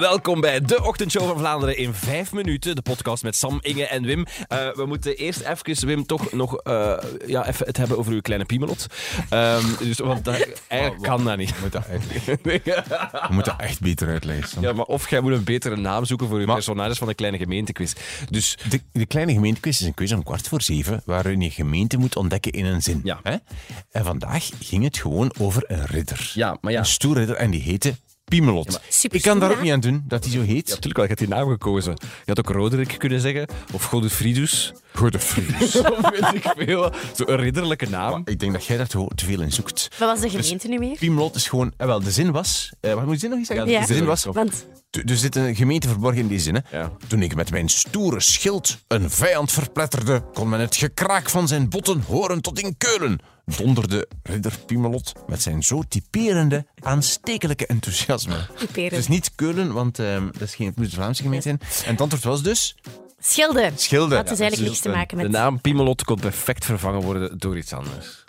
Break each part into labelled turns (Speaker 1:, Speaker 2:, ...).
Speaker 1: Welkom bij de Ochtendshow van Vlaanderen in 5 minuten. De podcast met Sam, Inge en Wim. Eh, we moeten eerst even, Wim, toch nog eh, ja, even het hebben over uw kleine piemelot. Ehm, dus, want dat, eigenlijk kan dat niet.
Speaker 2: moet dat echt, we moeten echt beter uitleggen.
Speaker 1: Ja, maar of jij moet een betere naam zoeken voor je
Speaker 2: Maar-
Speaker 1: personages van de kleine gemeentequiz. Dus
Speaker 2: De, de kleine gemeentequiz is een quiz om kwart voor zeven, waarin je gemeente moet ontdekken in een zin.
Speaker 1: Ja.
Speaker 2: Hè? En vandaag ging het gewoon over een ridder.
Speaker 1: ja, maar ja.
Speaker 2: Een stoer ridder en die heette Piemelot.
Speaker 3: Super
Speaker 2: Ik kan daar
Speaker 3: stoer,
Speaker 2: ook
Speaker 3: hè?
Speaker 2: niet aan doen dat hij zo heet.
Speaker 1: Natuurlijk wel, je hebt die naam gekozen. Je had ook Roderick kunnen zeggen, of Godefridus.
Speaker 2: Goede vriend.
Speaker 1: of weet ik veel. Zo'n ridderlijke naam.
Speaker 2: Ik denk dat jij daar te, te veel in zoekt. Dus
Speaker 3: Wat was de gemeente nu weer?
Speaker 2: Piemelot is gewoon... Eh, wel, de zin was... eh, wat moet de zin nog eens zeggen?
Speaker 3: Ja.
Speaker 2: De zin was...
Speaker 3: Want
Speaker 2: T- Er zit een gemeente verborgen in die zin. Hè.
Speaker 1: Ja.
Speaker 2: Toen ik met mijn stoere schild een vijand verpletterde, kon men het gekraak van zijn botten horen tot in Keulen. Donderde ridder Piemelot met zijn zo typerende, aanstekelijke enthousiasme.
Speaker 3: Typerend.
Speaker 2: Het is niet Keulen, want ehm, dat is geen het moet een Vlaamse gemeente zijn. En het antwoord was dus
Speaker 3: schilden.
Speaker 2: Schilde.
Speaker 3: Dat is eigenlijk niks te maken
Speaker 1: De
Speaker 3: met...
Speaker 1: naam Piemelot kon perfect vervangen worden door iets anders.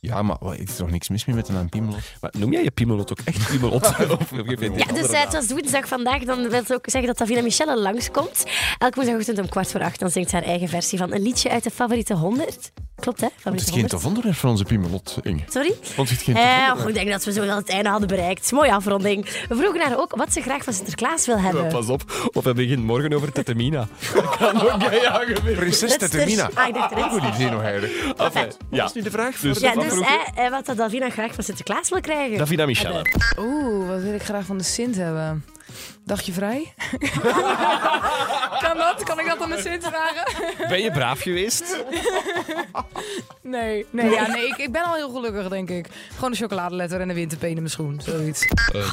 Speaker 2: Ja, maar wat, er is toch niks mis mee met de naam Piemelot?
Speaker 1: Maar noem jij je Piemelot ook echt Piemelot? of geef je
Speaker 3: Ja, dus eh, het was woensdag vandaag. Dan wil ze ook zeggen dat Davina Michelle langskomt. Elke woensdagochtend om kwart voor acht. Dan zingt ze haar eigen versie van een liedje uit de favoriete 100. Klopt, hè?
Speaker 2: Het is
Speaker 3: Favoriete
Speaker 2: geen
Speaker 3: 100.
Speaker 2: tof onderwerp voor onze Piemelot, Inge.
Speaker 3: Sorry?
Speaker 2: Vond je het geen tof
Speaker 3: Eh,
Speaker 2: onderwerp?
Speaker 3: oh, ik denk dat we zo wel het einde hadden bereikt. Mooie afronding. We vroegen haar ook wat ze graag van Sinterklaas wil hebben.
Speaker 1: Pas op, of we beginnen morgen over Tetemina. Dat kan ook bij jou gebeuren.
Speaker 2: Prinses
Speaker 3: Letsters.
Speaker 2: Tetemina.
Speaker 3: Ah, ik dacht er
Speaker 2: Goed idee nog eigenlijk.
Speaker 1: Enfin, eh, ja.
Speaker 2: Dat is nu de vraag voor
Speaker 1: Dus-
Speaker 2: de
Speaker 3: Ja, dus
Speaker 1: afroepen.
Speaker 3: eh, eh, wat dat Davina graag van Sinterklaas wil krijgen.
Speaker 1: Davina Michelle.
Speaker 4: Oeh, wat wil ik graag van de Sint hebben? Dagje vrij? kan dat? Kan ik dat aan de Sint vragen?
Speaker 1: Ben je braaf geweest?
Speaker 4: Nee. Nee, ja, nee ik, ik ben al heel gelukkig, denk ik. Gewoon een chocoladeletter en een winterpeen in mijn schoen. Zoiets.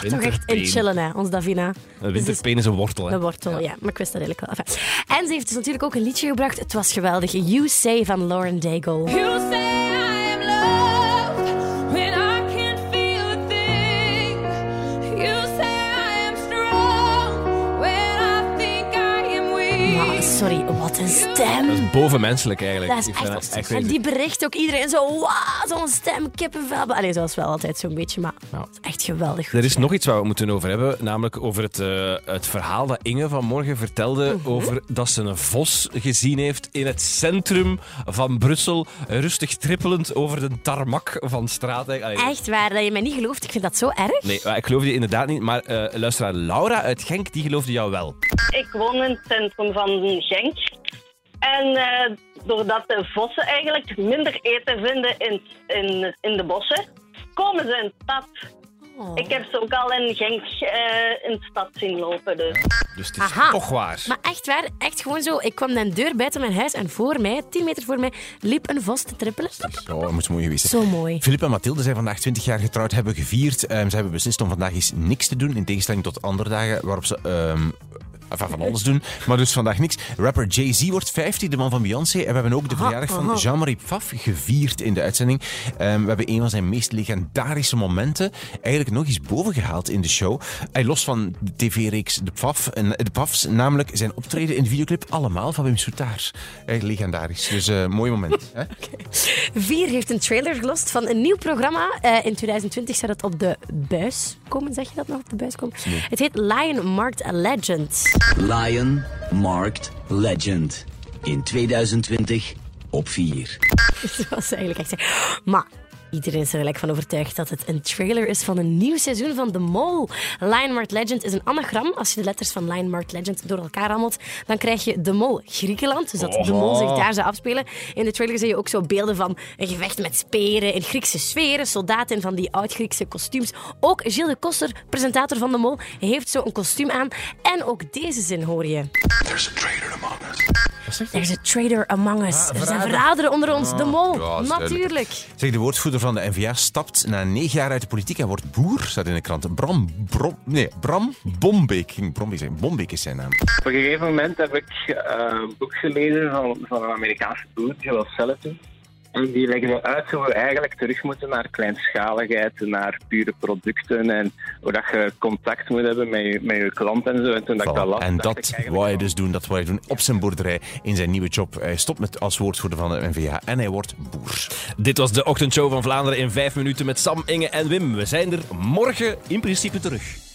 Speaker 3: Toch echt in chillen, hè, ons Davina.
Speaker 1: Een Eh, winterpeen is een wortel, hè?
Speaker 3: Een wortel, ja. Maar ik wist dat eigenlijk wel. Enfin. En ze heeft dus natuurlijk ook een liedje gebracht. Het was geweldig. You Say van Lauren Daigle.
Speaker 5: You say I am loved when I can't feel a thing. You say I am strong when I think I am
Speaker 3: Maar
Speaker 5: weak.
Speaker 3: Ah, sorry, wat een stem.
Speaker 1: Bovenmenselijk eigenlijk.
Speaker 3: Dat is
Speaker 1: Ik vind
Speaker 3: echt...
Speaker 1: dat
Speaker 3: en
Speaker 1: crazy.
Speaker 3: die bericht ook iedereen zo... Wow, zo'n stem, kippenvel. Maar- Allee, zoals wel altijd zo'n beetje, maar
Speaker 1: Ja.
Speaker 3: het is echt geweldig. goed
Speaker 1: Er is
Speaker 3: gedaan.
Speaker 1: nog iets waar we het moeten over hebben, namelijk over het, eh, het verhaal dat Inge vanmorgen vertelde over dat ze een vos gezien heeft in het centrum van Brussel, rustig trippelend over de tarmac van straat. Allee,
Speaker 3: Echt waar, dat je mij niet gelooft. Ik vind dat zo erg.
Speaker 1: Nee, maar ik geloof die inderdaad niet, maar eh luisteraar Laura uit Genk, die geloofde jou wel.
Speaker 6: Ik woon in het centrum van Genk. En eh, doordat de vossen eigenlijk minder eten vinden in, in, in de bossen, komen ze in de stad.
Speaker 3: Oh.
Speaker 6: Ik heb ze ook al in Genk eh, in de stad zien lopen. Dus.
Speaker 1: Dus het is
Speaker 3: Aha.
Speaker 1: toch waar.
Speaker 3: Maar echt waar, echt gewoon zo. Ik kwam naar de deur buiten mijn huis en voor mij, 10 meter voor mij, liep een vos te trippelen.
Speaker 2: Zo, dat moet mooi geweest zijn.
Speaker 3: Zo mooi.
Speaker 2: Filip en Mathilde zijn vandaag 20 jaar getrouwd, hebben gevierd. Ehm, ze hebben beslist om vandaag eens niks te doen, in tegenstelling tot andere dagen waarop ze ehm, enfin, van alles doen. Maar dus vandaag niks. Rapper Jay-Z wordt 50, de man van Beyoncé. En we hebben ook de verjaardag van Jean-Marie Pfaff gevierd in de uitzending. Ehm, we hebben een van zijn meest legendarische momenten eigenlijk nog eens bovengehaald in de show. Hij los van de tv-reeks De Pfaff, en eh, de Pfaffs, namelijk zijn optreden in de videoclip Allemaal van Wim Soutaars. Echt legendarisch. Dus eh mooi moment. Hè?
Speaker 3: Vier heeft een trailer gelost van een nieuw programma. Eh, in 2020 zou dat op de buis komen. Zeg je dat nog? Op de buis komen? Het heet Lion Marked a Legend.
Speaker 7: Lion Marked Legend. In 2020 op 4.
Speaker 3: Dat was eigenlijk echt... Maar iedereen is er gelijk van overtuigd dat het een trailer is van een nieuw seizoen van The Mole. Lion Marked Legend is een anagram. Als je de letters van Lion Marked Legend door elkaar rammelt, dan krijg je The Mole Griekenland. Dus dat The Mole zich daar zou afspelen. In de trailer zie je ook zo beelden van een gevecht met speren, in Griekse sferen, soldaten in van die oud-Griekse kostuums. Ook Gilles de Koster, presentator van The Mole, heeft zo een kostuum aan. En ook deze zin hoor je. There's a traitor among us. er zijn verraderen onder ons. De mol,
Speaker 2: Ja, dat is duidelijk.
Speaker 3: natuurlijk.
Speaker 2: Zeg, de woordvoerder van de NVA stapt na negen jaar uit de politiek. Hij wordt boer, staat in de krant. Bram, Brom, nee, Bram Bombeek. Ik ging Brombeek zeggen. Bombeek is zijn naam.
Speaker 8: Op een gegeven moment heb ik eh, een boek gelezen van, van een Amerikaanse boer, Joel Salatin. En die legde uit hoe we eigenlijk terug moeten naar kleinschaligheid, naar pure producten en hoe dat je contact moet hebben met je, met je klant en zo. En toen dat ik dat las,
Speaker 2: en
Speaker 8: dacht ik
Speaker 2: dat
Speaker 8: eigenlijk
Speaker 2: wou hij
Speaker 8: van-
Speaker 2: dus doen. Dat wou hij doen op zijn boerderij in zijn nieuwe job. Hij stopt met als woordvoerder van de NVA en hij wordt boer.
Speaker 1: Dit was de ochtendshow van Vlaanderen in 5 minuten met Sam, Inge en Wim. We zijn er morgen in principe terug.